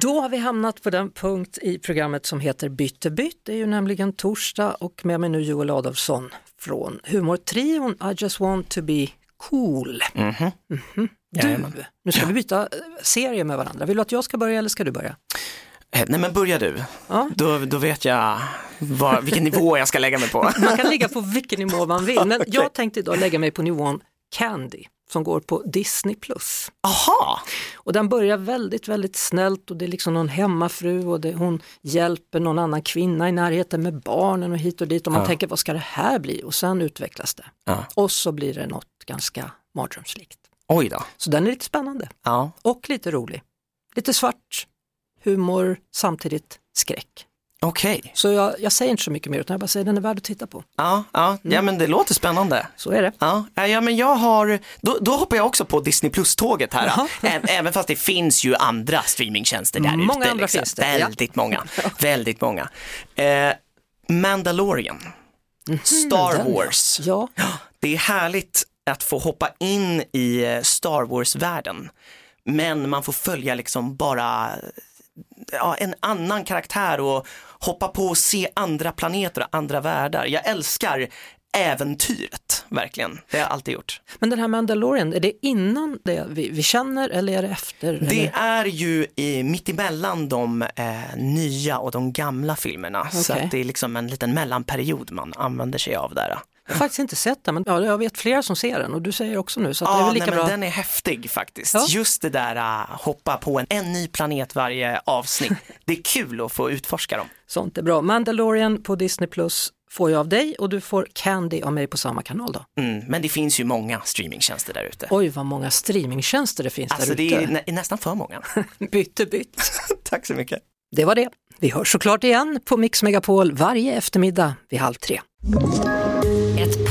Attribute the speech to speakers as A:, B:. A: Då har vi hamnat på den punkt i programmet som heter Bytte bytt. Det är ju nämligen torsdag och med mig nu Joel Adolfsson från humortrion I just want to be cool. Mhm. Du, nu ska vi byta eh, serie med varandra. Vill du att jag ska börja eller ska du börja?
B: Eh, Nej men börja du,
A: Ja.
B: då, då vet jag vad, vilken nivå jag ska lägga mig på.
A: Man kan ligga på vilken nivå man vill, men jag tänkte idag lägga mig på nivån Candy som går på Disney+. Plus.
B: Aha,
A: Och den börjar väldigt, väldigt snällt och det är liksom någon hemmafru och det, hon hjälper någon annan kvinna i närheten med barnen och hit och dit och man tänker vad ska det här bli och sen utvecklas det.
B: Ja.
A: Och så blir det något ganska mardrömslikt.
B: oj då.
A: Så den är lite spännande
B: Ja.
A: och lite rolig. Lite svart humor, samtidigt skräck.
B: Okej,
A: Så jag, jag säger inte så mycket mer utan jag bara säger den är värd att titta på.
B: ja, ja.
A: Mm.
B: ja men det låter spännande.
A: Så är det.
B: Ja, eh, ja men jag har, då, då hoppar jag också på Disney plus-tåget här. Ä- Även fast det finns ju andra streamingtjänster där
A: Många
B: ute. liksom.
A: andra finns det, ja.
B: Väldigt många, väldigt många. Eh, Mandalorian, Star
A: Mhm. den, ja.
B: Wars.
A: Ja,
B: Det är härligt att få hoppa in i eh, Star Wars-världen. Men man får följa liksom bara ja, en annan karaktär och hoppa på och se andra planeter och andra världar. Jag älskar äventyret, verkligen. Det har jag alltid gjort.
A: men den här Mandalorian, är det innan det vi, vi känner eller är det efter?
B: Det
A: eller?
B: är ju i, mitt emellan de eh, nya och de gamla filmerna. Så
A: Okej.
B: att det är liksom en liten mellanperiod man använder sig av där.
A: Jag har faktiskt inte sett den, men ja, jag vet flera som ser den och du säger också nu så att det är
B: Ja,
A: väl lika
B: nej,
A: bra.
B: men den är häftig faktiskt.
A: Ja.
B: Just det där att hoppa på en, en ny planet varje avsnitt. Det är kul att få utforska dem.
A: Sånt är bra. Mandalorian på Disney Plus får jag av dig och du får Candy av mig på samma kanal då.
B: Mm, men det finns ju många streamingtjänster där ute.
A: Oj vad många streamingtjänster det finns
B: Alltså
A: där
B: det är
A: ute.
B: nä, nästan för många.
A: Bytte bytt.
B: Tack så mycket.
A: Det var det. Vi hörs såklart igen på Mix Megapol varje eftermiddag vid halv tre.
C: Ett